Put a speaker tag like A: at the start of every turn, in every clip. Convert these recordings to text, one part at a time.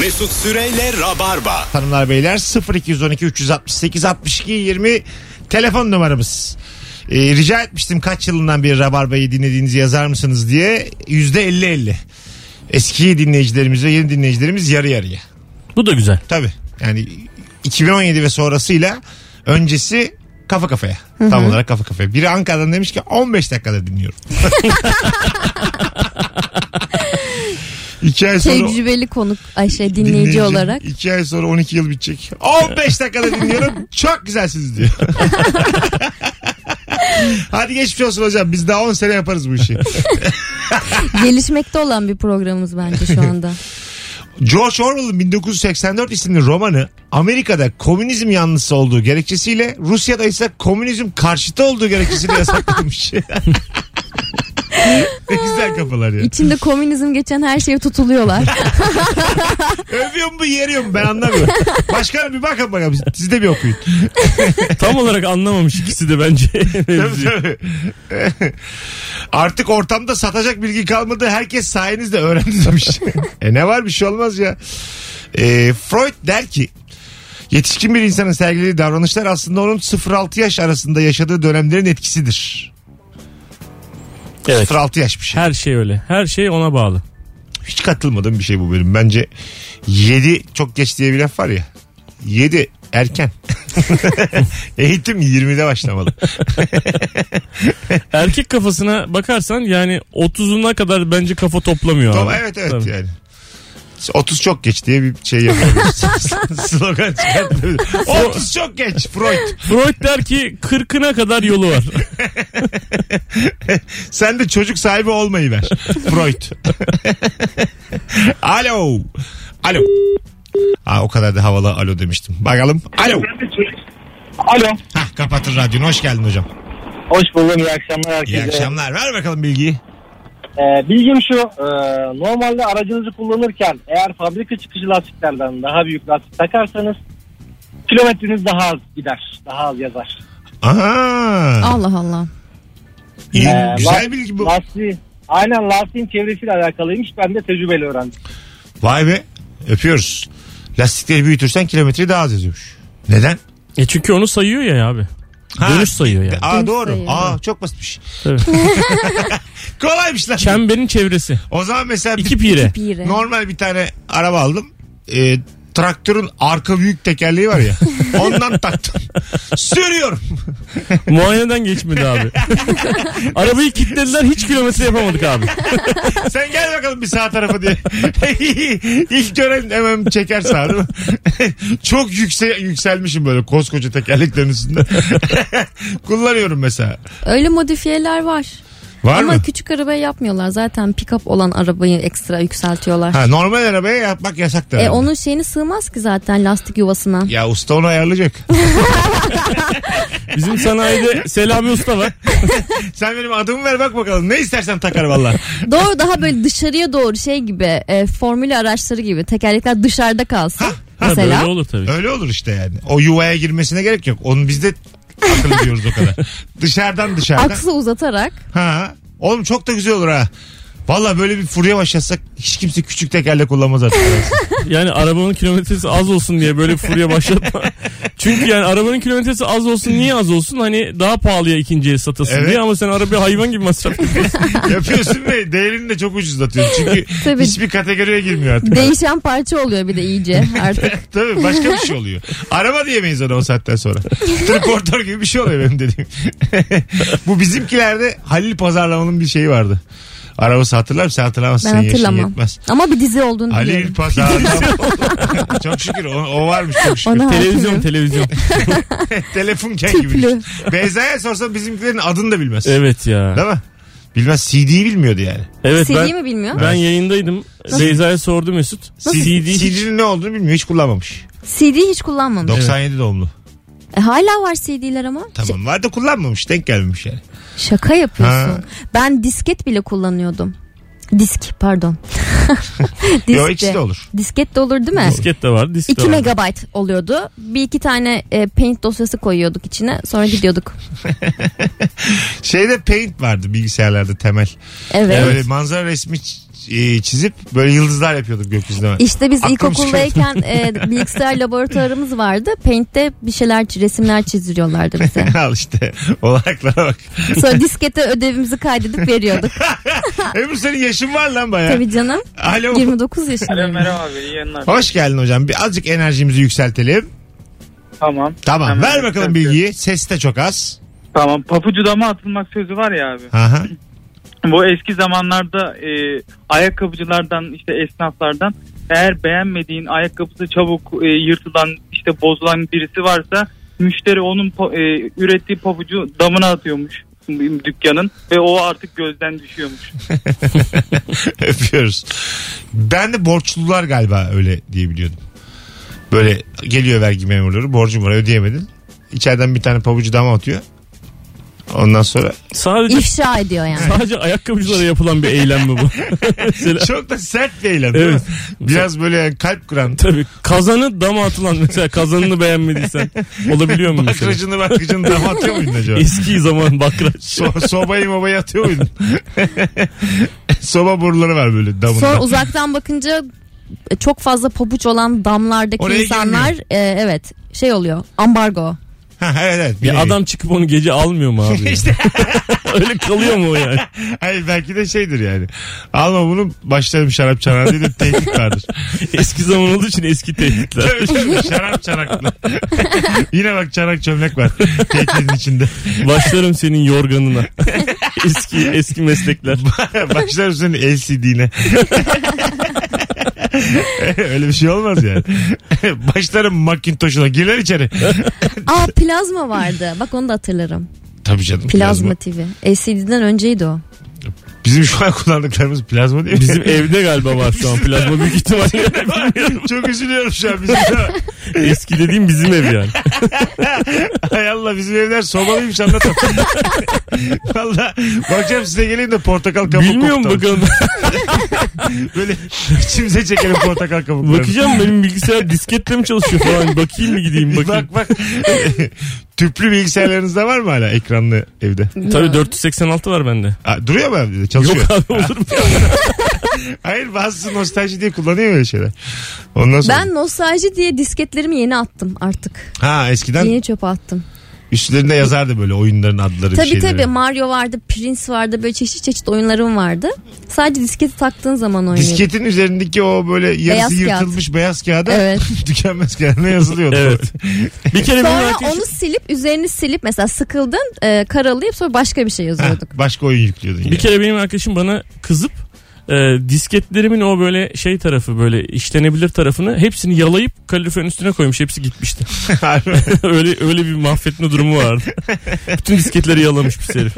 A: Mesut Süreyle Rabarba.
B: Hanımlar beyler 0212 368 62 20 telefon numaramız. Ee, rica etmiştim kaç yılından beri Rabarba'yı dinlediğinizi yazar mısınız diye. Yüzde 50-50. Eski dinleyicilerimiz ve yeni dinleyicilerimiz yarı yarıya.
C: Bu da güzel.
B: Tabii. Yani 2017 ve sonrasıyla öncesi kafa kafaya. Tam olarak kafa kafaya. Biri Ankara'dan demiş ki 15 dakikada dinliyorum. İki ay sonra
D: Tecrübeli konuk ay şey dinleyici,
B: dinleyici
D: olarak.
B: 2 ay sonra 12 yıl bitecek. 15 dakikada dinliyorum. Çok güzelsiniz diyor. Hadi geçmiş olsun hocam. Biz daha 10 sene yaparız bu işi.
D: Gelişmekte olan bir programımız bence şu anda.
B: George Orwell'ın 1984 isimli romanı Amerika'da komünizm yanlısı olduğu gerekçesiyle Rusya'da ise komünizm karşıtı olduğu gerekçesiyle yasaklanmış. ne güzel kafalar ya.
D: İçinde komünizm geçen her şeye tutuluyorlar.
B: Övüyor mu yeriyor mu ben anlamıyorum. Başkanım bir bakın bakalım siz de bir okuyun.
C: Tam olarak anlamamış ikisi de bence.
B: Tabii, tabii. Artık ortamda satacak bilgi kalmadı. Herkes sayenizde öğrendi demiş. e ne var bir şey olmaz ya. E, Freud der ki yetişkin bir insanın sergilediği davranışlar aslında onun 0-6 yaş arasında yaşadığı dönemlerin etkisidir.
C: evet.
B: 0-6 yaş bir şey.
C: Her şey öyle. Her şey ona bağlı.
B: Hiç katılmadığım bir şey bu benim. Bence 7 çok geç diye bir laf var ya. 7 erken. Eğitim 20'de başlamalı.
C: Erkek kafasına bakarsan yani 30'una kadar bence kafa toplamıyor
B: Tamam,
C: abi.
B: evet evet
C: Tabii.
B: yani. 30 çok geç diye bir şey yapıyoruz. Slogan çıkartıyoruz. 30 çok geç Freud.
C: Freud der ki 40'ına kadar yolu var.
B: Sen de çocuk sahibi olmayı ver. Freud. alo. Alo. Aa, o kadar da havalı alo demiştim. Bakalım. Alo.
E: Alo.
B: Hah, kapatır radyonu. Hoş geldin hocam.
E: Hoş buldum. İyi akşamlar herkese.
B: İyi akşamlar. Ver bakalım bilgiyi.
E: Ee, bilgim şu. e, normalde aracınızı kullanırken eğer fabrika çıkışı lastiklerden daha büyük lastik takarsanız kilometreniz daha az gider. Daha az yazar.
B: Aha.
D: Allah Allah.
B: İyi,
E: Ee,
B: güzel
E: last-
B: bilgi bu.
E: Lastiği, aynen lastiğin çevresiyle alakalıymış. Ben de tecrübeli öğrendim.
B: Vay be. Öpüyoruz. Lastikleri büyütürsen kilometreyi daha az yazıyormuş. Neden?
C: E çünkü onu sayıyor ya abi.
B: Ha.
C: Dönüş sayıyor yani.
B: Aa
D: Dönüş
B: doğru.
D: sayıyor.
B: Aa çok basitmiş.
C: Tabii.
B: Kolaymış lan.
C: Çemberin çevresi.
B: O zaman mesela bir-
C: İki pire.
D: Pire.
B: normal bir tane araba aldım. Ee, traktörün arka büyük tekerleği var ya. ondan taktım. Sürüyorum.
C: Muayeneden geçmedi abi. Arabayı kilitlediler hiç kilometre yapamadık abi.
B: Sen gel bakalım bir sağ tarafa diye. İlk gören hemen çeker sağa değil mi? Çok yüksel, yükselmişim böyle koskoca tekerleklerin üstünde. Kullanıyorum mesela.
D: Öyle modifiyeler var.
B: Var
D: Ama
B: mı?
D: küçük arabaya yapmıyorlar. Zaten pick-up olan arabayı ekstra yükseltiyorlar.
B: Ha, normal arabaya yapmak yasak da.
D: E
B: herhalde.
D: onun şeyini sığmaz ki zaten lastik yuvasına.
B: Ya usta onu ayarlayacak.
C: Bizim sanayide Selami Usta var.
B: Sen benim adımı ver bak bakalım. Ne istersen takar valla.
D: Doğru daha böyle dışarıya doğru şey gibi e, formül araçları gibi tekerlekler dışarıda kalsın.
C: Ha, böyle
D: Mesela
C: olur tabii.
B: Öyle olur işte yani. O yuvaya girmesine gerek yok. Onu biz de akıl diyoruz o kadar. Dışarıdan dışarıdan.
D: aksı uzatarak
B: Ha. Oğlum çok da güzel olur ha. Valla böyle bir furya başlatsak hiç kimse küçük tekerlek kullanmaz artık.
C: Yani arabanın kilometresi az olsun diye böyle furya başlatma. Çünkü yani arabanın kilometresi az olsun niye az olsun? Hani daha pahalıya ikinciye satasın
B: Evet.
C: diye ama sen arabayı hayvan gibi masraf yapıyorsun.
B: Yapıyorsun ve değerini de çok ucuzlatıyorsun. Çünkü
D: Tabii.
B: hiçbir kategoriye girmiyor artık.
D: değişen parça oluyor bir de iyice artık.
B: Tabii başka bir şey oluyor. Araba diyemeyiz ona o saatten sonra. Transportör gibi bir şey oluyor benim dediğim. Bu bizimkilerde Halil Pazarlama'nın bir şeyi vardı. Arabası hatırlar mısın? Hatırlamazsın.
D: Ben
B: yaşın
D: hatırlamam.
B: yetmez.
D: Ama bir dizi olduğunu
B: Halil
D: biliyorum.
B: Pazarlama. çok şükür o, o varmış çok şükür.
D: Ona
C: televizyon
D: hakimim.
C: televizyon.
B: Telefonken
D: Tüplü.
B: gibi. düşün. Beyza'ya sorsam bizimkilerin adını da bilmez.
C: Evet ya.
B: Değil mi? Bilmez CD'yi bilmiyordu yani.
C: Evet
D: CD'yi
C: ben
D: mi bilmiyor?
C: ben yayındaydım. Beyza'ya sordu Mesut. CD.
B: CD'nin ne olduğunu bilmiyor. Hiç kullanmamış.
D: CD hiç kullanmamış.
B: 97 doğumlu.
D: E, hala var CD'ler ama. Ş-
B: Tamam var da kullanmamış. Denk gelmemiş yani.
D: şaka yapıyorsun.
B: Ha.
D: Ben disket bile kullanıyordum. Disk pardon. Disk
B: Yo, ikisi de olur.
D: Disket de olur değil mi?
C: Disket de var. Disk de
D: 2
C: var.
D: megabayt oluyordu. Bir iki tane e, paint dosyası koyuyorduk içine. Sonra gidiyorduk.
B: Şeyde Paint vardı bilgisayarlarda temel.
D: Evet.
B: Böyle manzara resmi ç- e, çizip böyle yıldızlar yapıyorduk gökyüzüne. ben.
D: İşte biz
B: Aklım
D: ilkokuldayken e, bilgisayar laboratuvarımız vardı. Paint'te bir şeyler resimler çizdiriyorlardı bize.
B: Al işte olanaklara bak.
D: Sonra diskete ödevimizi kaydedip veriyorduk.
B: Öbür senin yaşın var lan baya.
D: Tabii canım.
B: Alo.
D: 29 yaşındayım.
E: merhaba abi iyi yayınlar.
B: Hoş geldin hocam. Bir azıcık enerjimizi yükseltelim.
E: Tamam.
B: Tamam.
E: Hemen
B: Ver bakalım
E: yükseltiyorum.
B: bilgiyi. Ses de çok az.
E: Tamam papucu dama atılmak sözü var ya abi.
B: Aha.
E: Bu eski zamanlarda e, ayakkabıcılardan işte esnaflardan eğer beğenmediğin ayakkabısı çabuk e, yırtılan işte bozulan birisi varsa müşteri onun pa- e, ürettiği pabucu damına atıyormuş dükkanın ve o artık gözden düşüyormuş.
B: Öpüyoruz. Ben de borçlular galiba öyle diye biliyordum. Böyle geliyor vergi memurları borcum var ödeyemedin. İçeriden bir tane pabucu dama atıyor. Ondan sonra
C: Sadece
D: İfşa ediyor yani.
C: sadece ayakkabıcılara yapılan bir eylem mi bu? Mesela,
B: çok da sert bir eylem değil
C: Evet.
B: mi? Biraz böyle yani kalp kıran.
C: tabii kazanı dama atılan mesela kazanını beğenmediysen olabiliyor mu mesela?
B: Bakracını bakracını dama atıyor muydun acaba?
C: Eski zaman bakraç.
B: So- sobayı mobayı atıyor muydun? Soba boruları var böyle damında.
D: Sonra uzaktan bakınca e, çok fazla pabuç olan damlardaki
B: Oraya
D: insanlar e, evet şey oluyor. Ambargo.
B: Ha, evet evet. bir
C: Ya
B: nevi.
C: adam çıkıp onu gece almıyor mu abi?
B: İşte.
C: Öyle kalıyor mu o yani?
B: Hayır belki de şeydir yani. Alma bunu başlarım şarap çanağı diye de tehdit vardır.
C: Eski zaman olduğu için eski tehditler.
B: şarap çanaklı. Yine bak çanak çömlek var. Tehditin içinde.
C: Başlarım senin yorganına. eski eski meslekler.
B: Başlar senin LCD'ne. Öyle bir şey olmaz yani. Başlarım Macintosh'una girer içeri.
D: Aa plazma vardı. Bak onu da hatırlarım.
B: Tabii canım.
D: Plazma TV. LCD'den önceydi o.
B: Bizim şu an kullandıklarımız plazma değil mi?
C: Bizim evde galiba var şu an plazma büyük ihtimalle.
B: Çok üzülüyorum şu an bizim.
C: Eski dediğim bizim ev yani.
B: Hay Allah bizim evler sobalıymış anlatın. Valla bakacağım size geleyim de portakal kabuğu
C: Bilmiyorum
B: kokutalım.
C: bakalım.
B: Böyle içimize çekelim portakal kabuklarını.
C: Bakacağım benim bilgisayar disketle mi çalışıyor falan. Bakayım mı gideyim bakayım.
B: Bak bak. Tüplü bilgisayarlarınızda var mı hala ekranlı evde?
C: Tabii 486 var bende.
B: Aa, duruyor mu evde? Çalışıyor.
C: Yok abi olur mu?
B: Hayır bazısı nostalji diye kullanıyor öyle şeyler. Ondan sonra.
D: Ben nostalji diye disketlerimi yeni attım artık.
B: Ha eskiden
D: Yeni çöpe attım.
B: üstlerinde yazardı böyle oyunların adları
D: Tabii
B: şeyleri.
D: tabii Mario vardı, Prince vardı. Böyle çeşit çeşit oyunlarım vardı. Sadece disketi taktığın zaman oynuyordum.
B: Disketin üzerindeki o böyle yarısı
D: Beyaz kağıt.
B: yırtılmış beyaz kağıda
D: Evet.
B: tükenmez kendine yazılıyordu.
C: Evet. Bir kere bir
D: Sonra
C: arkadaş-
D: onu silip üzerini silip mesela sıkıldın e, karalayıp sonra başka bir şey
B: Ha,
D: yazıyorduk.
B: başka oyun yüklüyordun. yani.
C: Bir kere benim arkadaşım bana kızıp e, disketlerimin o böyle şey tarafı böyle işlenebilir tarafını hepsini yalayıp kaloriferin üstüne koymuş. Hepsi gitmişti.
B: Harbi.
C: öyle öyle bir mahvetme durumu vardı. Bütün disketleri yalamış bir herif.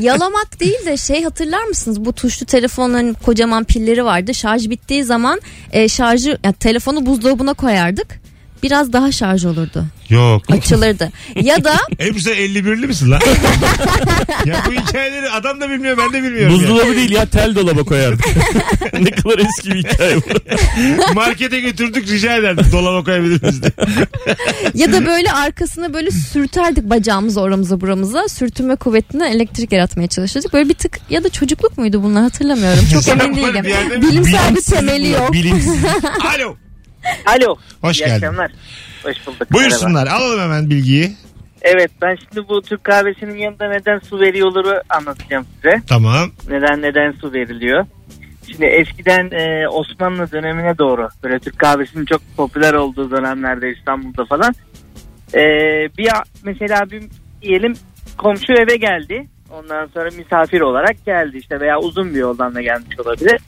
D: Yalamak değil de şey hatırlar mısınız? Bu tuşlu telefonların kocaman pilleri vardı. Şarj bittiği zaman e, şarjı yani telefonu buzdolabına koyardık. Biraz daha şarj olurdu.
B: Yok.
D: Açılırdı. ya da
B: Ebru sen 51'li misin lan? ya bu hikayeleri adam da bilmiyor ben de bilmiyorum. ya.
C: Buzdolabı değil ya tel dolaba koyardık. ne kadar eski bir hikaye bu.
B: Markete götürdük rica ederdik dolaba koyabiliriz diye.
D: ya da böyle arkasına böyle sürterdik bacağımızı oramıza buramıza. Sürtünme kuvvetinden elektrik yaratmaya çalışırdık. Böyle bir tık ya da çocukluk muydu bunlar hatırlamıyorum. Çok
B: Sen
D: emin
B: bunları bir yerde
D: değilim.
B: mi-
D: Bilimsel bir temeli yok.
B: Bilimsiz. Alo.
F: Alo.
B: Hoş
F: İyi
B: geldin.
F: akşamlar. Hoş bulduk. Merhaba.
B: Buyursunlar alalım hemen bilgiyi.
F: Evet ben şimdi bu Türk kahvesinin yanında neden su veriyorları anlatacağım size.
B: Tamam.
F: Neden neden su veriliyor. Şimdi eskiden e, Osmanlı dönemine doğru böyle Türk kahvesinin çok popüler olduğu dönemlerde İstanbul'da falan. E, bir a- mesela bir diyelim komşu eve geldi. Ondan sonra misafir olarak geldi işte veya uzun bir yoldan da gelmiş olabilir.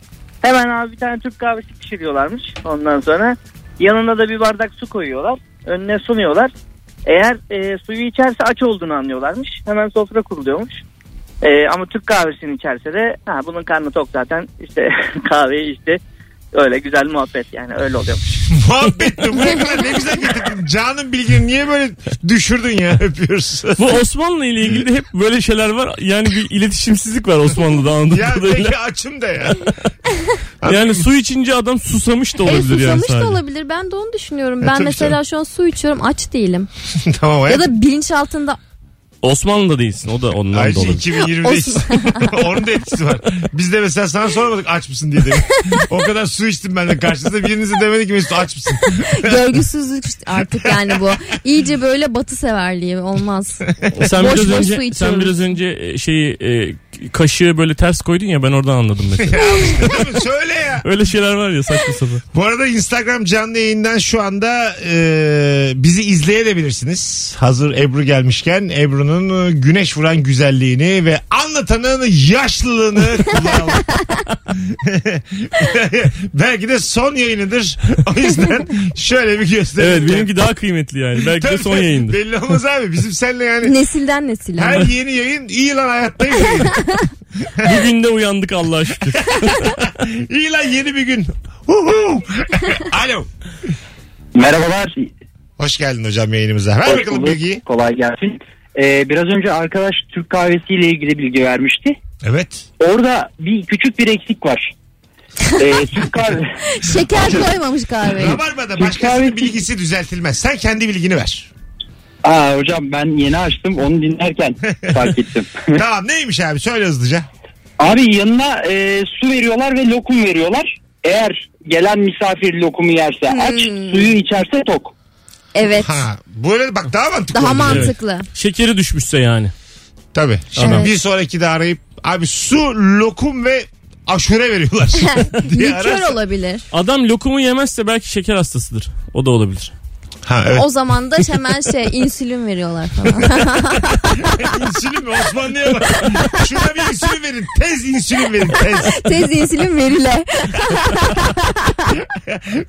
F: Hemen abi bir tane Türk kahvesi pişiriyorlarmış. Ondan sonra yanına da bir bardak su koyuyorlar. Önüne sunuyorlar. Eğer e, suyu içerse aç olduğunu anlıyorlarmış. Hemen sofra kuruluyormuş. E, ama Türk kahvesini içerse de ha, bunun karnı tok zaten işte kahveyi işte öyle güzel muhabbet yani öyle oluyor.
B: Muhabbet de buraya kadar ne güzel getirdin. Can'ın bilgini niye böyle düşürdün ya öpüyoruz.
C: Bu Osmanlı ile ilgili de hep böyle şeyler var. Yani bir iletişimsizlik var Osmanlı'da anladığım
B: ya
C: kadarıyla.
B: peki açım da ya.
C: Yani su içince adam susamış da
D: E,
C: olabilir yani
D: susamış
C: sadece.
D: da olabilir. Ben de onu düşünüyorum.
B: E,
D: ben
B: tabii
D: mesela şu an su içiyorum aç değilim.
B: tamam
D: Ya
B: hayat.
D: da bilinçaltında
C: Osmanlı'da değilsin. O da ondan
B: Ayrıca
C: dolayı.
B: 2020'deyiz. Onun da etkisi var. Biz de mesela sana sormadık aç mısın diye dedik. O kadar su içtim ben de karşınızda. Birinize demedik ki Mesut aç mısın?
D: Görgüsüzlük işte artık yani bu. İyice böyle batı severliği olmaz.
C: E Sen
D: Boş
C: biraz
D: boş su
C: önce sen
D: içiyorum.
C: biraz önce e, şeyi e, kaşığı böyle ters koydun ya ben oradan anladım mesela.
B: Söyle ya.
C: Öyle şeyler var ya saçma sapan.
B: Bu arada Instagram canlı yayından şu anda e, bizi izleyebilirsiniz. Hazır Ebru gelmişken Ebru'nun e, güneş vuran güzelliğini ve anlatanın yaşlılığını kullanalım. Belki de son yayınıdır. O yüzden şöyle bir gösterelim.
C: Evet benimki daha kıymetli yani. Belki de
B: Tabii,
C: son yayındır.
B: Belli olmaz abi. Bizim seninle yani
D: Nesilden nesile.
B: her yeni yayın iyi lan hayattayız. yayın.
C: Bugün de uyandık Allah'a şükür.
B: İyi lan yeni bir gün. Huhu. Alo.
F: Merhabalar.
B: Hoş geldin hocam yayınımıza. Ver
F: Hoş
B: bakalım
F: bulduk.
B: bilgiyi.
F: Kolay gelsin. Ee, biraz önce arkadaş Türk kahvesiyle ilgili bilgi vermişti.
B: Evet.
F: Orada bir küçük bir eksik var. Ee, Türk kahve...
D: Şeker koymamış kahveye.
B: Rabarba'da
F: Türk
B: başkasının
F: kahvesi-
B: bilgisi düzeltilmez. Sen kendi bilgini ver.
F: Aa, hocam ben yeni açtım onu dinlerken fark ettim.
B: tamam neymiş abi söyle hızlıca.
F: Abi yanına e, su veriyorlar ve lokum veriyorlar. Eğer gelen misafir lokumu yerse aç, suyu içerse tok.
D: Evet.
B: Ha, böyle bak daha mantıklı.
D: Daha
B: oldu.
D: mantıklı.
C: Şekeri düşmüşse yani.
B: Tabii. Şimdi
D: Evet.
B: bir sonraki de arayıp abi su, lokum ve aşure veriyorlar. diye
D: Likör
B: ararsa-
D: olabilir.
C: Adam lokumu yemezse belki şeker hastasıdır. O da olabilir.
B: Ha, evet.
D: O zaman da hemen şey insülin veriyorlar falan.
B: insülin mi? Osmanlı'ya bak. Şuna bir insülin verin. Tez insülin verin. Tez.
D: Tez insülin verile.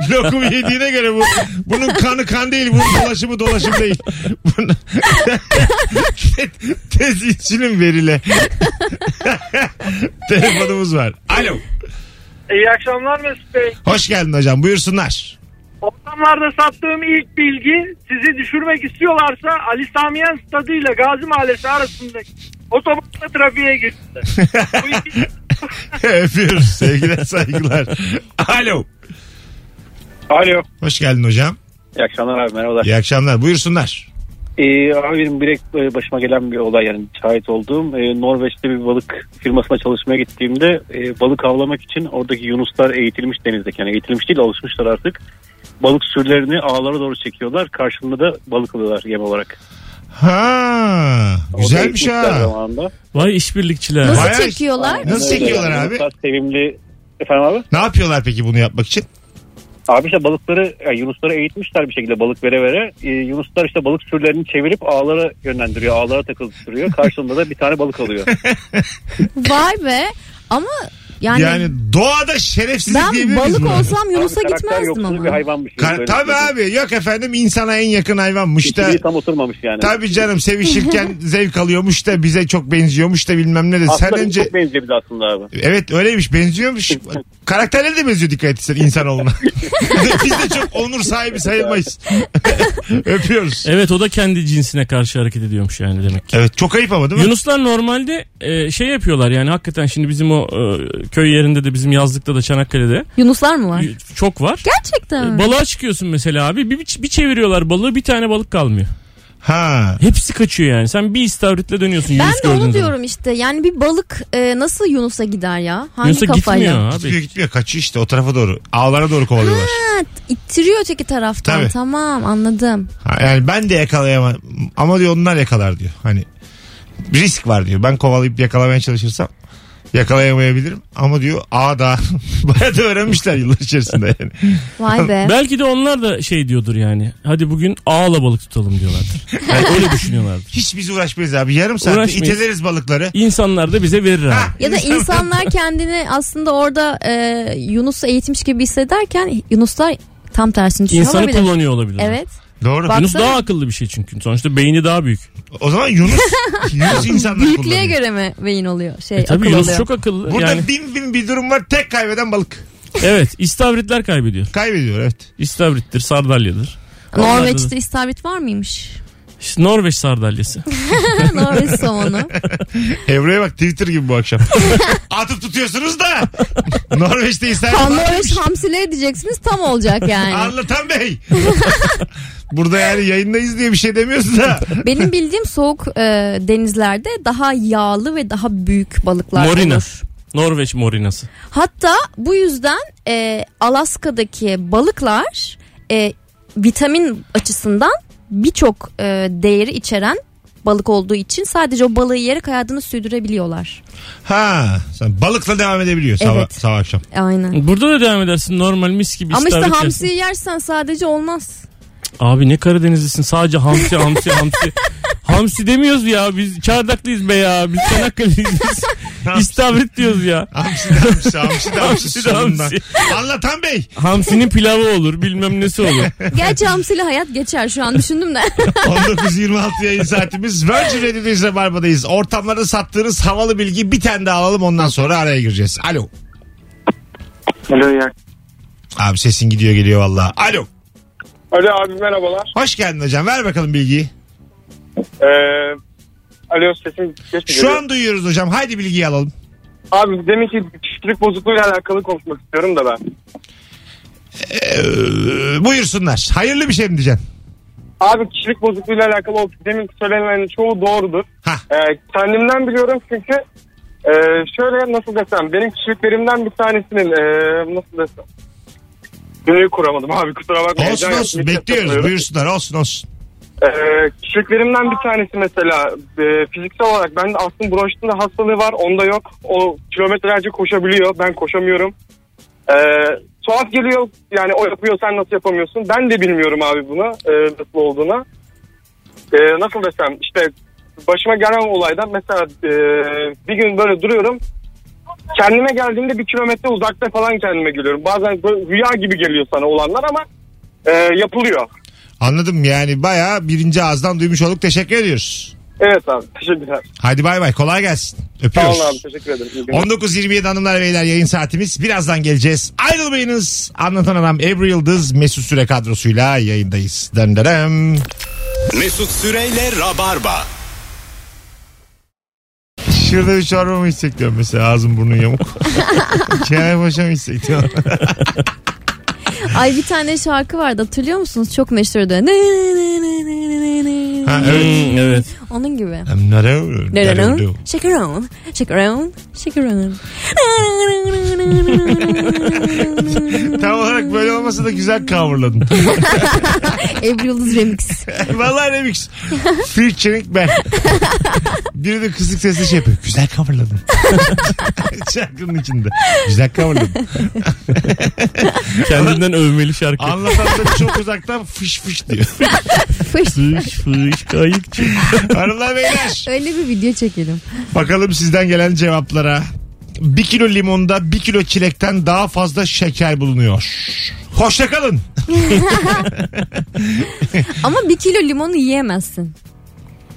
B: Lokum yediğine göre bu bunun kanı kan değil. Bunun dolaşımı dolaşım değil. Bunun- Tez insülin verile. Telefonumuz var. Alo.
G: İyi akşamlar Mesut Bey.
B: Hoş geldin hocam. Buyursunlar.
G: Ortamlarda sattığım ilk bilgi sizi düşürmek istiyorlarsa Ali Samiyen Stadı ile Gazi Mahallesi arasındaki otobanda trafiğe girdi. Bu iki-
B: Öpüyoruz. Sevgiler saygılar. Alo.
H: Alo.
B: Hoş geldin hocam.
H: İyi akşamlar abi merhabalar.
B: İyi akşamlar. Buyursunlar.
H: Ee, abi benim direkt e, başıma gelen bir olay yani şahit olduğum. Ee, Norveç'te bir balık firmasına çalışmaya gittiğimde e, balık avlamak için oradaki yunuslar eğitilmiş denizdeki. Yani eğitilmiş değil alışmışlar artık. Balık sürülerini ağlara doğru çekiyorlar. Karşılığında da balık alıyorlar yem olarak.
B: Ha,
H: O da
B: güzelmiş
H: eğitmişler
B: ha.
H: zamanında.
C: Vay işbirlikçiler.
D: Nasıl
B: Bayağı-
D: çekiyorlar?
H: Aynen
B: Nasıl
H: öyle
B: çekiyorlar
H: yani.
B: abi?
H: Yunuslar sevimli. Efendim abi?
B: Ne yapıyorlar peki bunu yapmak için?
H: Abi işte balıkları yani yunusları eğitmişler bir şekilde balık vere vere. Ee, yunuslar işte balık sürülerini çevirip ağlara yönlendiriyor. Ağlara takıldırıyor. Karşılığında da bir tane balık alıyor.
D: Vay be. Ama yani,
B: Yani, doğada şerefsizlik
D: ben
B: diyebiliriz
D: balık
B: buna.
D: olsam Yunus'a
H: Abi karakter
D: gitmezdim
H: yoksul
D: ama.
H: bir hayvanmış.
B: Kar- tabii abi yok efendim insana en yakın hayvanmış da.
H: İşte, tam oturmamış yani.
B: Tabii canım sevişirken zevk alıyormuş da bize çok benziyormuş da bilmem ne de. Sen
H: Aslında
B: önce
H: çok benziyor bize aslında abi.
B: Evet öyleymiş benziyormuş. Karakterleri de benziyor dikkat etsen insanoğluna. Biz de çok onur sahibi sayılmayız. Öpüyoruz.
C: Evet o da kendi cinsine karşı hareket ediyormuş yani demek ki.
B: Evet çok ayıp ama değil mi?
C: Yunuslar normalde e, şey yapıyorlar yani hakikaten şimdi bizim o e, köy yerinde de bizim yazlıkta da Çanakkale'de
D: Yunuslar mı var?
C: y- çok var.
D: Gerçekten mi?
C: E, Balığa çıkıyorsun mesela abi bir, bir çeviriyorlar balığı bir tane balık kalmıyor.
B: Ha.
C: Hepsi kaçıyor yani sen bir istavritle dönüyorsun
D: Ben
C: Yunus
D: de
C: gördüğün
D: onu
C: zaman.
D: diyorum işte. Yani bir balık e, nasıl Yunus'a gider ya? Hangi
C: Yunus'a
D: kafayla?
C: gitmiyor
B: Gitmiyor
C: abi.
B: gitmiyor kaçıyor işte o tarafa doğru. Ağlara doğru kovalıyorlar.
D: Ha, ittiriyor öteki taraftan.
B: Tabii.
D: Tamam anladım.
B: Ha, Yani ben de yakalayamam ama diyor onlar yakalar diyor. Hani risk var diyor. Ben kovalayıp yakalamaya çalışırsam yakalayamayabilirim ama diyor ağ da bayağı da öğrenmişler yıllar içerisinde yani.
D: Vay be.
C: Belki de onlar da şey diyordur yani. Hadi bugün ağla balık tutalım diyorlardır. Yani öyle düşünüyorlardır.
B: Hiç biz uğraşmayız abi. Yarım saatte
C: Uğraşmayız.
B: iteleriz balıkları.
C: İnsanlar da bize verir abi.
B: Ha,
D: Ya da insanlar kendini aslında orada e, Yunus'u eğitmiş gibi hissederken Yunuslar tam tersini düşünüyor
C: İnsanı
D: olabilir.
C: kullanıyor olabilir.
D: Evet.
B: Doğru.
D: Bak-
C: Yunus
D: Baksana.
C: daha akıllı bir şey çünkü. Sonuçta beyni daha büyük.
B: O zaman Yunus Yunus insanlar
D: Büyüklüğe
B: kullanıyor.
D: göre mi beyin oluyor? Şey,
C: E tabii
D: akıl
C: Yunus
D: oluyor.
C: çok akıllı.
B: Burada
C: Yani,
B: bin bin bir durum var. Tek kaybeden balık.
C: evet istavritler kaybediyor.
B: Kaybediyor evet.
C: İstavrittir, sardalyadır. Onlarda da-
D: Norveç'te istavrit var mıymış?
C: İşte Norveç sardalyası.
D: Norveç somonu.
B: Evre'ye bak Twitter gibi bu akşam. Atıp tutuyorsunuz da Norveç'te
D: Tam
B: İstanbul
D: Norveç hamsileri diyeceksiniz tam olacak yani.
B: Anlatan Bey. Burada yani yayındayız diye bir şey demiyorsun da.
D: Benim bildiğim soğuk e, denizlerde daha yağlı ve daha büyük balıklar
C: Morina.
D: olur.
C: Norveç morinası.
D: Hatta bu yüzden e, Alaska'daki balıklar e, vitamin açısından birçok e, değeri içeren balık olduğu için sadece o balığı yiyerek hayatını sürdürebiliyorlar.
B: Ha, sen balıkla devam edebiliyor sabah,
D: Evet.
B: sabah akşam.
D: Aynen.
C: Burada da devam edersin normal mis gibi.
D: Ama işte
C: istavrit yersin.
D: hamsiyi yersen sadece olmaz.
C: Abi ne Karadenizlisin sadece hamsi hamsi hamsi. hamsi demiyoruz ya biz çardaklıyız be ya biz Çanakkale'liyiz. İstavrit diyoruz ya.
B: Hamsi de hamsi, hamsi de hamsi,
C: Hamsi de
B: sonunda.
C: hamsi.
B: Anlatan Bey.
C: Hamsinin pilavı olur bilmem nesi olur.
D: Gerçi hamsiyle hayat geçer şu an düşündüm de.
B: 19.26 yayın saatimiz. Virgin Radio'dayız Rabarba'dayız. Ortamlarda sattığınız havalı bilgi bir tane daha alalım ondan sonra araya gireceğiz. Alo.
I: Alo ya.
B: Abi sesin gidiyor geliyor valla. Alo.
I: Alo abi merhabalar.
B: Hoş geldin hocam. Ver bakalım bilgiyi.
I: Ee, alo sesim geç mi
B: Şu
I: geliyor?
B: an duyuyoruz hocam. Haydi bilgiyi alalım.
I: Abi demin ki kişilik bozukluğuyla alakalı konuşmak istiyorum da ben.
B: Ee, buyursunlar. Hayırlı bir şey mi diyeceksin?
I: Abi kişilik bozukluğuyla alakalı o demin söylenenlerin çoğu doğrudur.
B: Hah.
I: Ee, kendimden biliyorum çünkü e, şöyle nasıl desem benim kişiliklerimden bir tanesinin e, nasıl desem Cümleyi kuramadım abi kusura bakma.
B: Olsun
I: Heyecan
B: olsun.
I: yapmayı
B: Bekliyoruz.
I: istemiyorum.
B: Buyursunlar. Olsun olsun.
I: Ee, kişiliklerimden bir tanesi mesela e, fiziksel olarak ben aslında bronşitinde hastalığı var onda yok. O kilometrelerce koşabiliyor ben koşamıyorum. Ee, tuhaf geliyor yani o yapıyor sen nasıl yapamıyorsun ben de bilmiyorum abi bunu e, nasıl olduğunu. E, nasıl desem işte başıma gelen olaydan mesela e, bir gün böyle duruyorum. Kendime geldiğimde bir kilometre uzakta falan kendime geliyorum. Bazen böyle rüya gibi geliyor sana olanlar ama e, yapılıyor.
B: Anladım yani bayağı birinci ağızdan duymuş olduk. Teşekkür ediyoruz.
I: Evet abi teşekkürler.
B: Hadi bay bay. Kolay gelsin.
I: Sağ
B: Öpüyoruz.
I: olun abi teşekkür ederim. İyi günler.
B: 19.27 hanımlar beyler yayın saatimiz. Birazdan geleceğiz. Ayrılmayınız. Anlatan adam Ebru Yıldız Mesut Süre kadrosuyla yayındayız. Döndürüm.
A: Mesut Süreyle Rabarba.
B: Şurada bir çorbamı içsek diyorum mesela ağzım burnun yamuk. Kenan Paşa'mı içsek diyorum.
D: Ay bir tane şarkı vardı hatırlıyor musunuz? Çok meşhurdu. Ne, ne, ne, ne, ne, ne, ne.
B: Ha, evet.
C: Hmm, evet.
D: Onun gibi.
B: I'm not Ebru,
D: No, no,
B: not
D: no.
B: Ebru.
D: Shake it on. Shake it on. Shake it on.
B: Tam olarak böyle olmasa da güzel coverladın.
D: Ebru Yıldız Remix.
B: Vallahi remix. Featuring ben. Biri de kısık sesle şey yapıyor. Güzel coverladın. Şarkının içinde. Güzel coverladın.
C: Kendinden övmeli şarkı.
B: Anlatan da çok uzaktan fış fış diyor.
D: Fış.
C: Fış fış kayıkçı.
B: Hanımlar beyler.
D: Öyle bir video çekelim.
B: Bakalım sizden gelen cevaplara. Bir kilo limonda bir kilo çilekten daha fazla şeker bulunuyor. Hoşça kalın.
D: Ama bir kilo limonu yiyemezsin.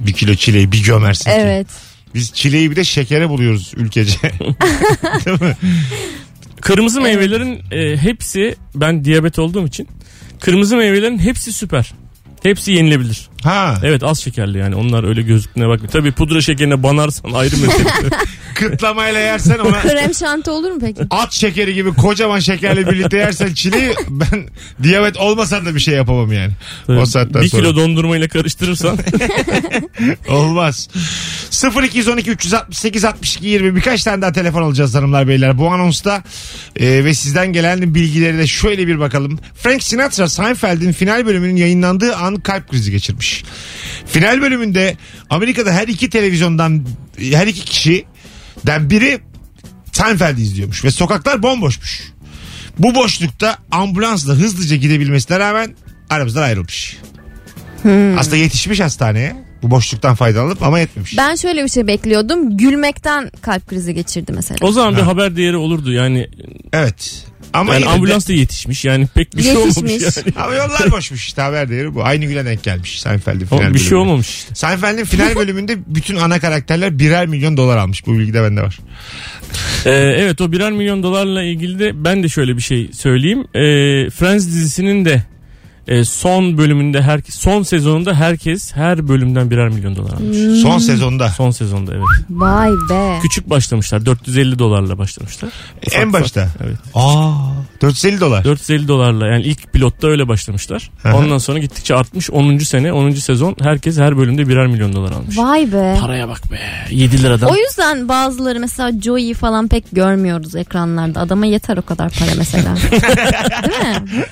B: Bir kilo çileği bir gömersin. ki.
D: Evet.
B: Biz çileği bir de şekere buluyoruz ülkece. Değil mi?
C: Kırmızı meyvelerin e, hepsi ben diyabet olduğum için kırmızı meyvelerin hepsi süper. Hepsi yenilebilir.
B: Ha.
C: Evet az şekerli yani onlar öyle gözüktüğüne bakmıyor. Tabii pudra şekerine banarsan ayrı mesele.
B: Kıtlamayla yersen ona
D: Krem şanti olur mu peki?
B: at şekeri gibi kocaman şekerle birlikte yersen çileği ben diyabet olmasan da bir şey yapamam yani. O saatten
C: bir
B: sonra.
C: kilo dondurma ile karıştırırsan
B: Olmaz. 0212 368 62 20 birkaç tane daha telefon alacağız hanımlar beyler. Bu anonsta e, ve sizden gelen bilgileri de şöyle bir bakalım. Frank Sinatra Seinfeld'in final bölümünün yayınlandığı an kalp krizi geçirmiş. Final bölümünde Amerika'da her iki televizyondan her iki kişiden biri Seinfeld'i izliyormuş ve sokaklar bomboşmuş. Bu boşlukta ambulansla hızlıca gidebilmesine rağmen aramızdan ayrılmış. Aslında yetişmiş hastaneye. Bu boşluktan faydalanıp ama yetmemiş.
D: Ben şöyle bir şey bekliyordum. Gülmekten kalp krizi geçirdi mesela.
C: o zaman bir haber değeri olurdu. Yani,
B: Evet. Ama
C: yani
B: yine de-
C: ambulans da yetişmiş yani pek bir şey olmamış
D: Yetişmiş.
C: yani.
B: Ama yollar boşmuş işte haber değeri bu. Aynı güne denk gelmiş Seinfeld'in final
C: Ama bir şey
B: bölümüne.
C: olmamış işte.
B: Seinfeld'in final bölümünde bütün ana karakterler birer milyon dolar almış. Bu bilgi de bende var.
C: Ee, evet o birer milyon dolarla ilgili de ben de şöyle bir şey söyleyeyim. Ee, Friends dizisinin de e, son bölümünde herkes son sezonunda herkes her bölümden birer milyon dolar almış.
B: Son sezonda.
C: Son sezonda evet.
D: Vay be.
C: Küçük başlamışlar. 450 dolarla başlamışlar. Ufak
B: en
C: ufak.
B: başta.
C: Evet.
B: Aa 450 dolar.
C: 450 dolarla yani ilk pilotta öyle başlamışlar.
B: Hı hı.
C: Ondan sonra gittikçe artmış. 10. sene 10. sezon herkes her bölümde birer milyon dolar almış.
D: Vay be.
C: Paraya bak be. 7 liradan.
D: O yüzden bazıları mesela Joey'i falan pek görmüyoruz ekranlarda. Adama yeter o kadar para mesela. Değil mi?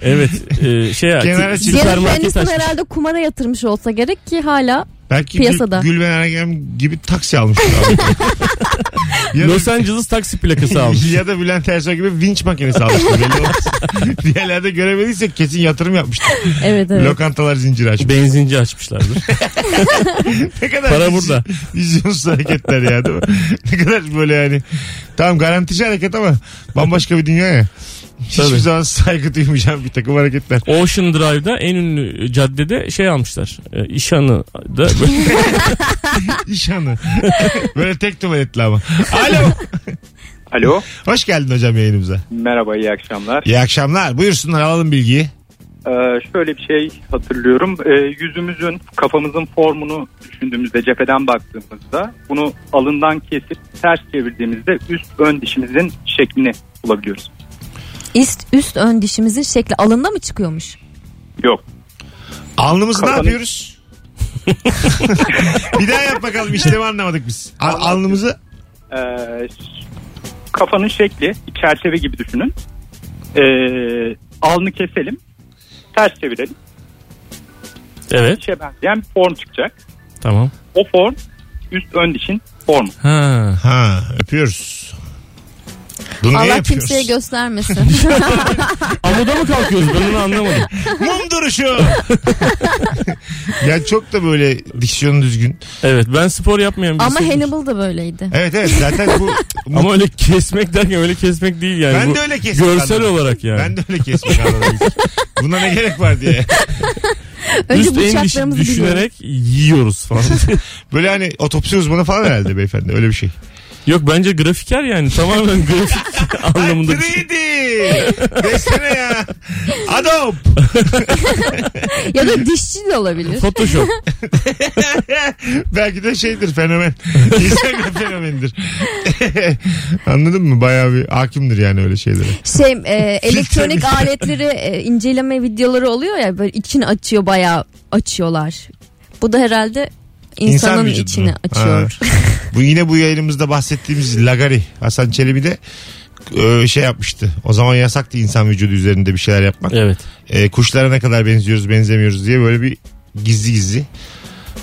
C: Evet. e, şey ya,
B: Kenara
C: ki-
B: çekil.
D: Jared
C: süpermarket
D: Aniston
C: açmış.
D: herhalde kumara yatırmış olsa gerek ki hala
B: Belki
D: Piyasada.
B: Gül, Gülben Ergen gibi taksi almış. ya,
C: Los Angeles taksi plakası
B: da,
C: almış.
B: ya da Bülent Ersoy gibi vinç makinesi almış. Belli olmaz. Bir yerlerde göremediysek kesin yatırım yapmıştır.
D: evet evet.
B: Lokantalar zinciri açmış.
C: Benzinci açmışlardır.
B: ne kadar
C: Para
B: viz-
C: burada.
B: Vizyonsuz hareketler ya değil mi? ne kadar böyle yani. Tamam garantici hareket ama bambaşka bir dünya ya. Hiçbir
C: Tabii.
B: zaman saygı duymayacağım bir takım hareketler.
C: Ocean Drive'da en ünlü caddede şey almışlar. E, İşhanı da böyle
B: İş anı. Böyle tek tuvaletli ama. Alo.
J: Alo.
B: Hoş geldin hocam yayınımıza.
J: Merhaba iyi akşamlar.
B: İyi akşamlar. Buyursunlar alalım bilgiyi.
J: Ee, şöyle bir şey hatırlıyorum. Ee, yüzümüzün kafamızın formunu düşündüğümüzde cepheden baktığımızda bunu alından kesip ters çevirdiğimizde üst ön dişimizin şeklini bulabiliyoruz.
D: Üst, üst ön dişimizin şekli alında mı çıkıyormuş?
J: Yok.
B: Alnımızı ne
J: Kafanı-
B: yapıyoruz? bir daha yap bakalım işlemi anlamadık biz. Al- alnımızı
J: Ee, ş- kafanın şekli bir çerçeve gibi düşünün. Ee, alnı keselim. Ters çevirelim.
C: Evet.
J: Dişe benzeyen bir form çıkacak.
C: Tamam.
J: O form üst ön dişin formu.
C: Ha.
B: ha öpüyoruz. Bunu niye
D: Allah
B: yapıyoruz?
D: kimseye göstermesin.
C: Amuda mı kalkıyoruz? Ben onu anlamadım.
B: Mum duruşu. ya çok da böyle diksiyonu düzgün.
C: Evet ben spor yapmayan
D: Ama hani
C: birisiyim.
D: Hannibal da böyleydi.
B: Evet evet zaten bu.
C: Ama öyle kesmek derken öyle kesmek değil yani.
B: ben
C: Bu
B: de öyle kesmek
C: Görsel
B: anladım.
C: olarak yani.
B: Ben de öyle kesmek anladım. Buna ne gerek var diye.
D: Önce
C: Üst en düş-
D: bıçaklarımızı biliyoruz.
C: düşünerek yiyoruz falan.
B: Böyle hani otopsi uzmanı falan herhalde beyefendi öyle bir şey.
C: Yok bence grafiker yani tamamen grafik anlamında bir şey.
B: 3D. Desene ya. Adobe.
D: Ya da dişçi de olabilir.
C: Photoshop.
B: Belki de şeydir fenomen. Instagram fenomenidir. Anladın mı? Bayağı bir hakimdir yani öyle şeylere.
D: Şey e, elektronik
B: Filtre mi?
D: aletleri e, inceleme videoları oluyor ya böyle içini açıyor bayağı açıyorlar. Bu da herhalde
B: İnsan
D: insanın
B: vücudunu.
D: içini açıyor.
B: Bu yine bu yayınımızda bahsettiğimiz Lagari Hasan Çelebi de e, şey yapmıştı. O zaman yasaktı insan vücudu üzerinde bir şeyler yapmak.
C: Evet.
B: E, kuşlara ne kadar benziyoruz benzemiyoruz diye böyle bir gizli gizli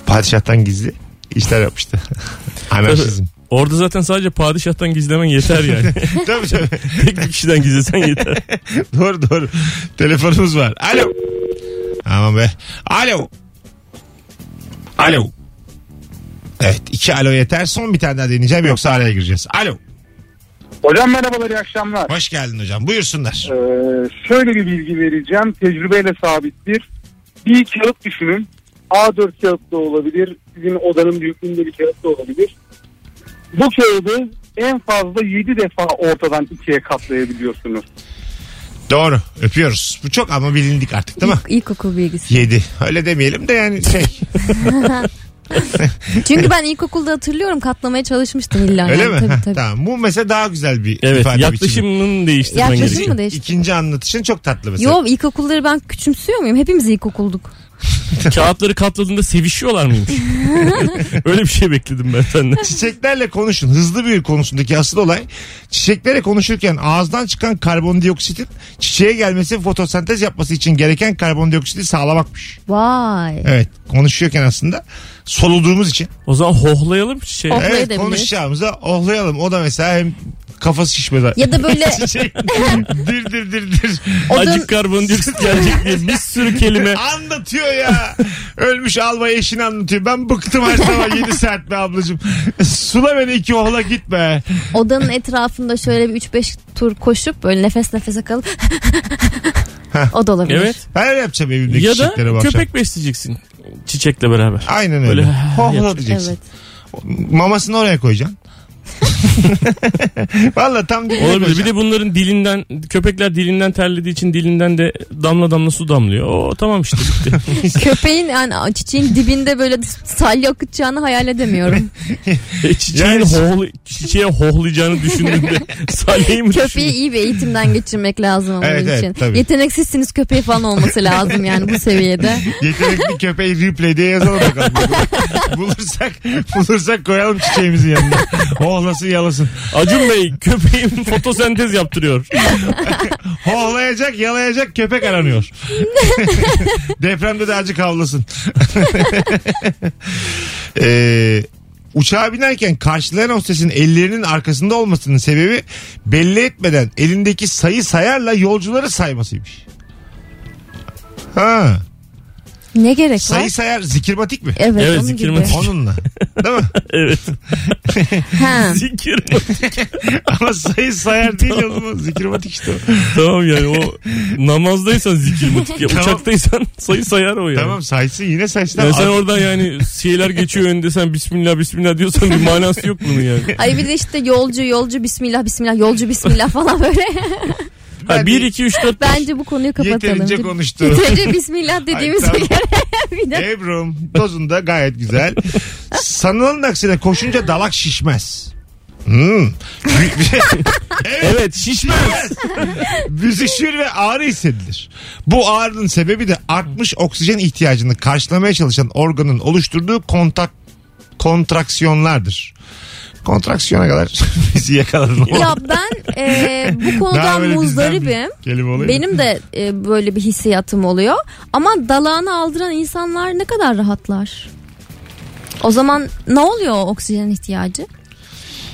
B: padişahtan gizli işler yapmıştı. Anarşizm.
C: Orada zaten sadece padişahtan gizlemen yeter yani.
B: tabii tabii.
C: Tek bir kişiden gizlesen yeter.
B: doğru doğru. Telefonumuz var. Alo. Aman be. Alo. Alo. Evet iki alo yeter. Son bir tane daha deneyeceğim yoksa araya gireceğiz. Alo.
I: Hocam merhabalar iyi akşamlar.
B: Hoş geldin hocam. Buyursunlar.
I: Ee, şöyle bir bilgi vereceğim. Tecrübeyle sabittir. Bir kağıt düşünün. A4 kağıt da olabilir. Sizin odanın büyüklüğünde bir kağıt da olabilir. Bu kağıdı en fazla 7 defa ortadan ikiye katlayabiliyorsunuz.
B: Doğru. Öpüyoruz. Bu çok ama bilindik artık değil mi?
D: İlk, ilkokul bilgisi.
B: Yedi. Öyle demeyelim de yani şey.
D: Çünkü ben ilkokulda hatırlıyorum katlamaya çalışmıştım illa.
B: öyle
D: yani.
B: mi?
D: Tabii
B: Heh,
D: tabii.
B: Tamam. Bu mesela daha güzel bir
C: Evet
B: ifade biçimi.
C: yaklaşımını değiştirmen
D: Yaklaşım
C: gerekiyor.
D: mı değişti?
B: İkinci anlatışın çok tatlı mesela.
D: Yo ilkokulları ben küçümsüyor muyum? Hepimiz ilkokulduk.
C: Kağıtları katladığında sevişiyorlar mıymış? Öyle bir şey bekledim ben senden.
B: Çiçeklerle konuşun. Hızlı büyür konusundaki asıl olay çiçeklere konuşurken ağızdan çıkan karbondioksitin çiçeğe gelmesi ve fotosentez yapması için gereken karbondioksiti sağlamakmış.
D: Vay.
B: Evet konuşuyorken aslında soluduğumuz için.
C: O zaman hohlayalım şey, çiçeği.
D: Oh.
B: Evet
D: Ohlayabiliriz.
B: konuşacağımıza ohlayalım. O da mesela hem kafası Şey, şişmez.
D: Ya da böyle
B: Çiçek dir dir dir dir.
D: odanın
C: Acık karbondioksit gelecek diye bir sürü kelime.
B: Anlatıyor ya. Ölmüş albay eşini anlatıyor. Ben bıktım her sabah 7 saat be ablacığım. Sula beni iki ohla gitme.
D: odanın etrafında şöyle bir 3-5 tur koşup böyle nefes nefese kalıp o da olabilir.
C: Evet.
B: Ben öyle yapacağım evimdeki
C: Ya da
B: çiçeklere bu akşam.
C: köpek besleyeceksin çiçekle beraber.
B: Aynen öyle.
C: Böyle
B: Hohla
C: yapacak. şey
B: diyeceksin.
D: Evet.
B: Mamasını oraya koyacaksın. Valla tam dibine
C: Olabilir. Bir
B: koyacağım.
C: de bunların dilinden köpekler dilinden terlediği için dilinden de damla damla su damlıyor. O tamam işte bitti.
D: Köpeğin yani çiçeğin dibinde böyle salya akıtacağını hayal edemiyorum.
C: E, çiçeğin
B: Yani-
C: hohlu- çiçeğe hohlayacağını düşündüğümde salyayı mı
D: Köpeği
C: düşündün?
D: iyi bir eğitimden geçirmek lazım onun
B: Evet, evet,
D: için.
B: tabii.
D: Yeteneksizsiniz köpeği falan olması lazım yani bu seviyede.
B: Yetenekli köpeği replay diye yazalım bakalım. bulursak, bulursak koyalım çiçeğimizin yanına. Hohlasın yalasın.
C: Acun Bey köpeğim fotosentez yaptırıyor.
B: Hohlayacak yalayacak köpek aranıyor. Depremde de acık havlasın. ee, uçağa binerken karşılayan hostesin ellerinin arkasında olmasının sebebi belli etmeden elindeki sayı sayarla yolcuları saymasıymış. Ha,
D: Ne gerek var?
B: sayı sayar zikirmatik mi?
D: Evet,
C: Evet,
D: onun gibi.
C: zikirmatik.
B: Onunla. Değil mi?
C: evet.
D: Ha.
C: Zikir.
B: Ama sayı sayar değil oğlum. Zikirmatik işte o.
C: tamam yani o namazdaysan zikir mutik ya.
B: Tamam.
C: Uçaktaysan sayı sayar o yani.
B: Tamam saysın yine saysın.
C: Yani sen oradan yani şeyler geçiyor önünde sen bismillah bismillah diyorsan bir manası yok bunun yani.
D: Ay bir de işte yolcu yolcu bismillah bismillah yolcu bismillah falan böyle.
C: Ha, 1, 2, 3, 4,
D: Bence bu konuyu kapatalım.
B: Yeterince
D: Bir-
B: konuştu.
D: Yeterince bismillah dediğimiz
B: Ay, tamam.
D: bir yere bir de.
B: Ebru'm tozunda gayet güzel. Sanılanın aksine koşunca dalak şişmez. Hmm.
C: Evet şişmez.
B: Büzüşür ve ağrı hissedilir. Bu ağrının sebebi de artmış oksijen ihtiyacını karşılamaya çalışan organın oluşturduğu kontak kontraksiyonlardır. Kontraksiyona kadar bizi yakaladın.
D: Ya ben e, bu
B: Daha
D: konudan
B: böyle bizden
D: muzdaribim.
B: bir Kelime oluyor.
D: Benim de e, böyle bir hissiyatım oluyor. Ama dalağını aldıran insanlar ne kadar rahatlar. O zaman ne oluyor o oksijen ihtiyacı?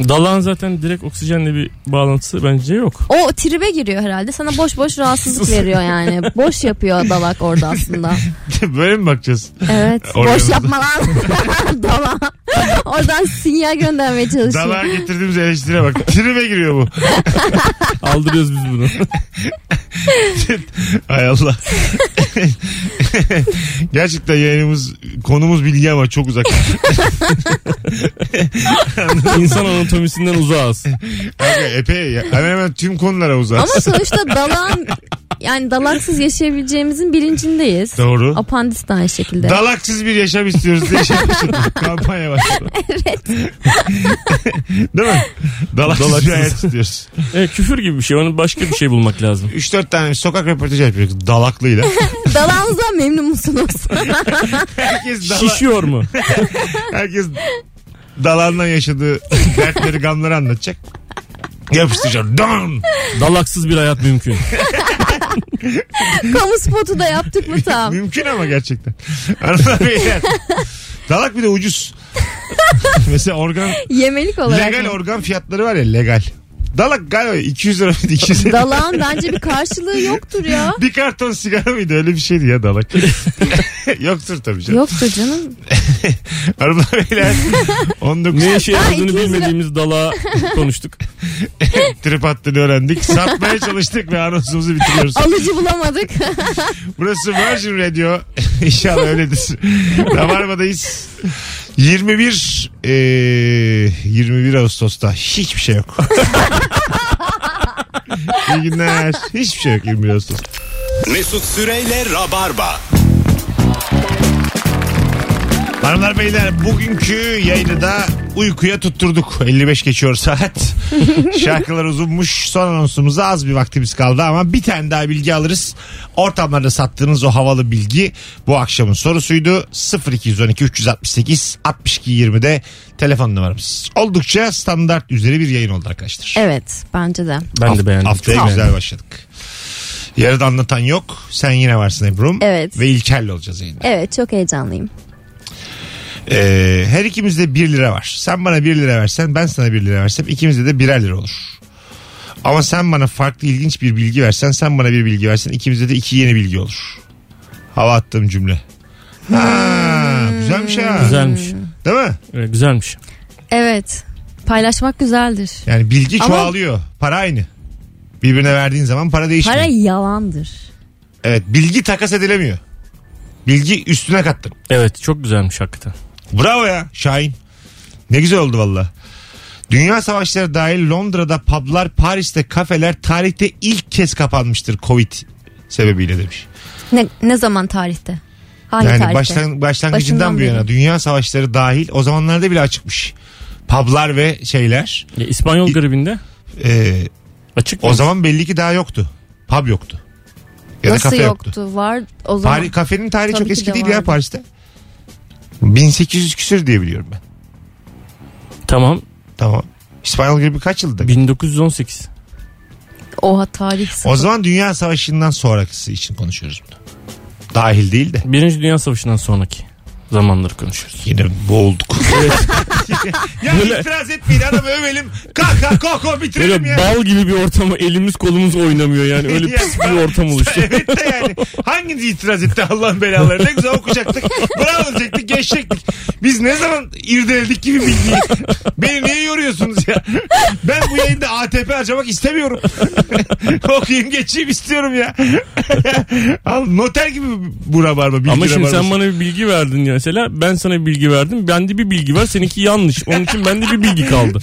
C: Dalağın zaten direkt oksijenle bir bağlantısı bence yok.
D: O tribe giriyor herhalde. Sana boş boş rahatsızlık veriyor yani. Boş yapıyor dalak orada aslında.
B: Böyle mi bakacağız?
D: Evet.
B: Oraya
D: boş
B: mı?
D: yapma lan. Dala. Oradan sinyal göndermeye çalışıyor.
B: Dalağa getirdiğimiz eleştire bak. Tribe giriyor bu.
C: Aldırıyoruz biz bunu.
B: Hay Allah. Gerçekten yayınımız konumuz bilgi ama çok uzak.
C: İnsan anatomisinden uzağız.
B: Abi epey ya. hemen hemen tüm konulara uzak.
D: Ama sonuçta dalağın yani dalaksız yaşayabileceğimizin bilincindeyiz.
B: Doğru.
D: Apandis de aynı şekilde.
B: Dalaksız bir yaşam istiyoruz diye şey başladı. Kampanya başladı. Evet. Değil mi? Dalaksız,
C: Dalaksız.
B: bir hayat istiyoruz.
C: Evet, küfür gibi bir şey. Onun başka bir şey bulmak lazım.
B: 3-4 tane sokak röportajı yapıyoruz dalaklıyla.
D: Dalağınızdan memnun musunuz?
B: Herkes, dala,
C: Şişiyor mu?
B: herkes dalandan yaşadığı dertleri gamları anlatacak. Yapıştıracağım. Don!
C: Dalaksız bir hayat mümkün.
D: Kamu spotu da yaptık mı tam?
B: Mümkün ama gerçekten. Hanımlar beyler. Dalak bir de ucuz. Mesela organ
D: Yemelik olarak.
B: legal
D: mı?
B: organ fiyatları var ya legal. Dalak galiba 200 lira mıydı? 200 lira.
D: Dalağın bence bir karşılığı yoktur ya.
B: Bir karton sigara mıydı? Öyle bir şeydi ya dalak. Yoktur tabii canım.
D: Yoktur canım.
B: Hanımlar beyler 19
C: Ne işe
D: Ay,
C: yaradığını
D: iki yüz lira.
C: bilmediğimiz dalağı konuştuk.
B: trip attığını öğrendik. Satmaya çalıştık ve anonsumuzu bitiriyoruz.
D: Alıcı bulamadık.
B: Burası Virgin Radio. İnşallah öyledir. Rabarba'dayız. 21 eee, 21 Ağustos'ta hiçbir şey yok. İyi günler. Hiçbir şey yok 21 Ağustos.
A: Mesut Süreyle Rabarba.
B: Hanımlar beyler bugünkü yayını da uykuya tutturduk. 55 geçiyor saat. Şarkılar uzunmuş. Son anonsumuza az bir vaktimiz kaldı ama bir tane daha bilgi alırız. Ortamlarda sattığınız o havalı bilgi bu akşamın sorusuydu. 0212 368 62 20'de telefon numaramız. Oldukça standart üzeri bir yayın oldu arkadaşlar.
D: evet bence de.
C: Ben
B: Haft-
C: de beğendim.
B: Haftaya
C: Çok
B: güzel
C: beğendim.
B: başladık. Yarıda anlatan yok. Sen yine varsın Ebru'm.
D: Evet.
B: Ve İlker'le olacağız yayında.
D: Evet çok heyecanlıyım.
B: Ee, her ikimizde 1 lira var. Sen bana 1 lira versen ben sana 1 lira versem ikimizde de birer lira olur. Ama sen bana farklı ilginç bir bilgi versen sen bana bir bilgi versen ikimizde de iki yeni bilgi olur. Hava attığım cümle. Ha, güzelmiş ha.
C: Güzelmiş.
B: Değil mi?
C: Evet, güzelmiş.
D: Evet. Paylaşmak güzeldir.
B: Yani bilgi
D: Ama-
B: çoğalıyor. Para aynı. Birbirine verdiğin zaman para değişmiyor.
D: Para yalandır.
B: Evet bilgi takas edilemiyor. Bilgi üstüne kattım.
C: Evet çok güzelmiş hakikaten.
B: Bravo ya Şahin. Ne güzel oldu valla. Dünya savaşları dahil Londra'da publar, Paris'te kafeler tarihte ilk kez kapanmıştır Covid sebebiyle demiş.
D: Ne, ne zaman tarihte? Hangi
B: yani
D: tarihte?
B: başlan- başlangıcından
D: Başından
B: bu yana
D: beri.
B: dünya savaşları dahil o zamanlarda bile açıkmış. Publar ve şeyler.
C: Ya İspanyol gribinde
B: Ee,
C: açık mı?
B: o zaman belli ki daha yoktu. Pub yoktu. Ya da
D: Nasıl
B: kafe
D: yoktu?
B: yoktu.
D: Var o zaman.
B: Pari, kafenin tarihi
D: Tabii
B: çok
D: ki
B: eski
D: de
B: değil ya
D: vardı.
B: Paris'te. 1800 küsür diye biliyorum ben.
C: Tamam
B: Tamam. İspanyol gribi kaç yılda?
C: 1918.
D: Oha tarih.
B: O zaman Dünya Savaşı'ndan sonrakisi için konuşuyoruz bunu. Dahil değil de.
C: Birinci Dünya Savaşı'ndan sonraki zamanları konuşuyoruz.
B: Yine boğulduk. ya
C: Böyle-
B: itiraz etmeyin adamı övelim. Kalk kalk kalk kalk, bitirelim
C: Böyle
B: ya.
C: bal gibi bir ortama elimiz kolumuz oynamıyor yani öyle pis bir ortam oluştu.
B: evet de yani. Hanginiz itiraz etti Allah'ın belaları? Ne güzel okuyacaktık. Bravo diyecektik. Geçecektik. Biz ne zaman irdeledik gibi bilgiyi. Beni niye yoruyorsunuz ya? Ben bu yayında ATP harcamak istemiyorum. Okuyayım geçeyim istiyorum ya. Al noter gibi bu rabarba. Bilgi
C: Ama şimdi sen
B: rabarbası.
C: bana bir bilgi verdin ya mesela ben sana bir bilgi verdim. Bende bir bilgi var seninki yanlış. Onun için bende bir bilgi kaldı.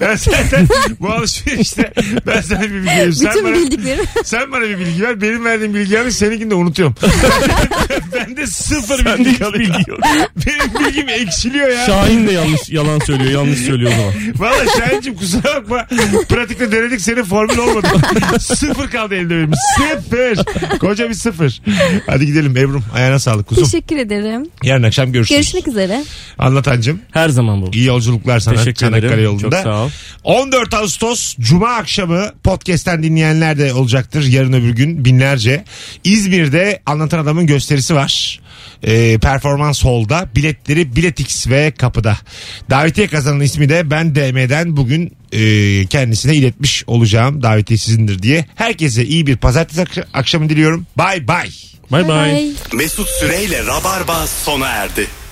B: Ben zaten bu alışverişte ben sana bir bilgi veriyorum. Sen
D: Bütün
B: bana,
D: bildiklerim.
B: sen bana bir bilgi ver. Benim verdiğim bilgi yanlış. Seninkini de unutuyorum. ben de sıfır bilgi kalıyor. Benim bilgim ekşiliyor ya.
C: Şahin de yanlış yalan söylüyor yanlış söylüyor o zaman.
B: Valla Şahin'cim kusura bakma. Pratikte denedik senin formül olmadı. sıfır kaldı elde benim. Sıfır. Koca bir sıfır. Hadi gidelim Ebrum. Ayağına sağlık kuzum.
D: Teşekkür ederim.
B: Yarın akşam görüşürüz.
D: Görüşmek üzere.
B: Anlatancım.
C: Her zaman bu.
B: İyi yolculuklar sana
C: Teşekkür
B: Çanakkale
C: ederim.
B: yolunda.
C: Çok sağ ol.
B: 14 Ağustos Cuma akşamı podcast'ten dinleyenler de olacaktır. Yarın öbür gün binlerce. İzmir'de Anlatan Adam'ın gösterisi var. Ee, performans Hall'da biletleri Biletix ve kapıda. Davetiye kazanan ismi de ben DM'den bugün e, kendisine iletmiş olacağım. Davetiye sizindir diye. Herkese iyi bir pazartesi ak- akşamı diliyorum. Bye bye.
C: Bay bay.
A: Mesut Süreyle Rabarba sona erdi.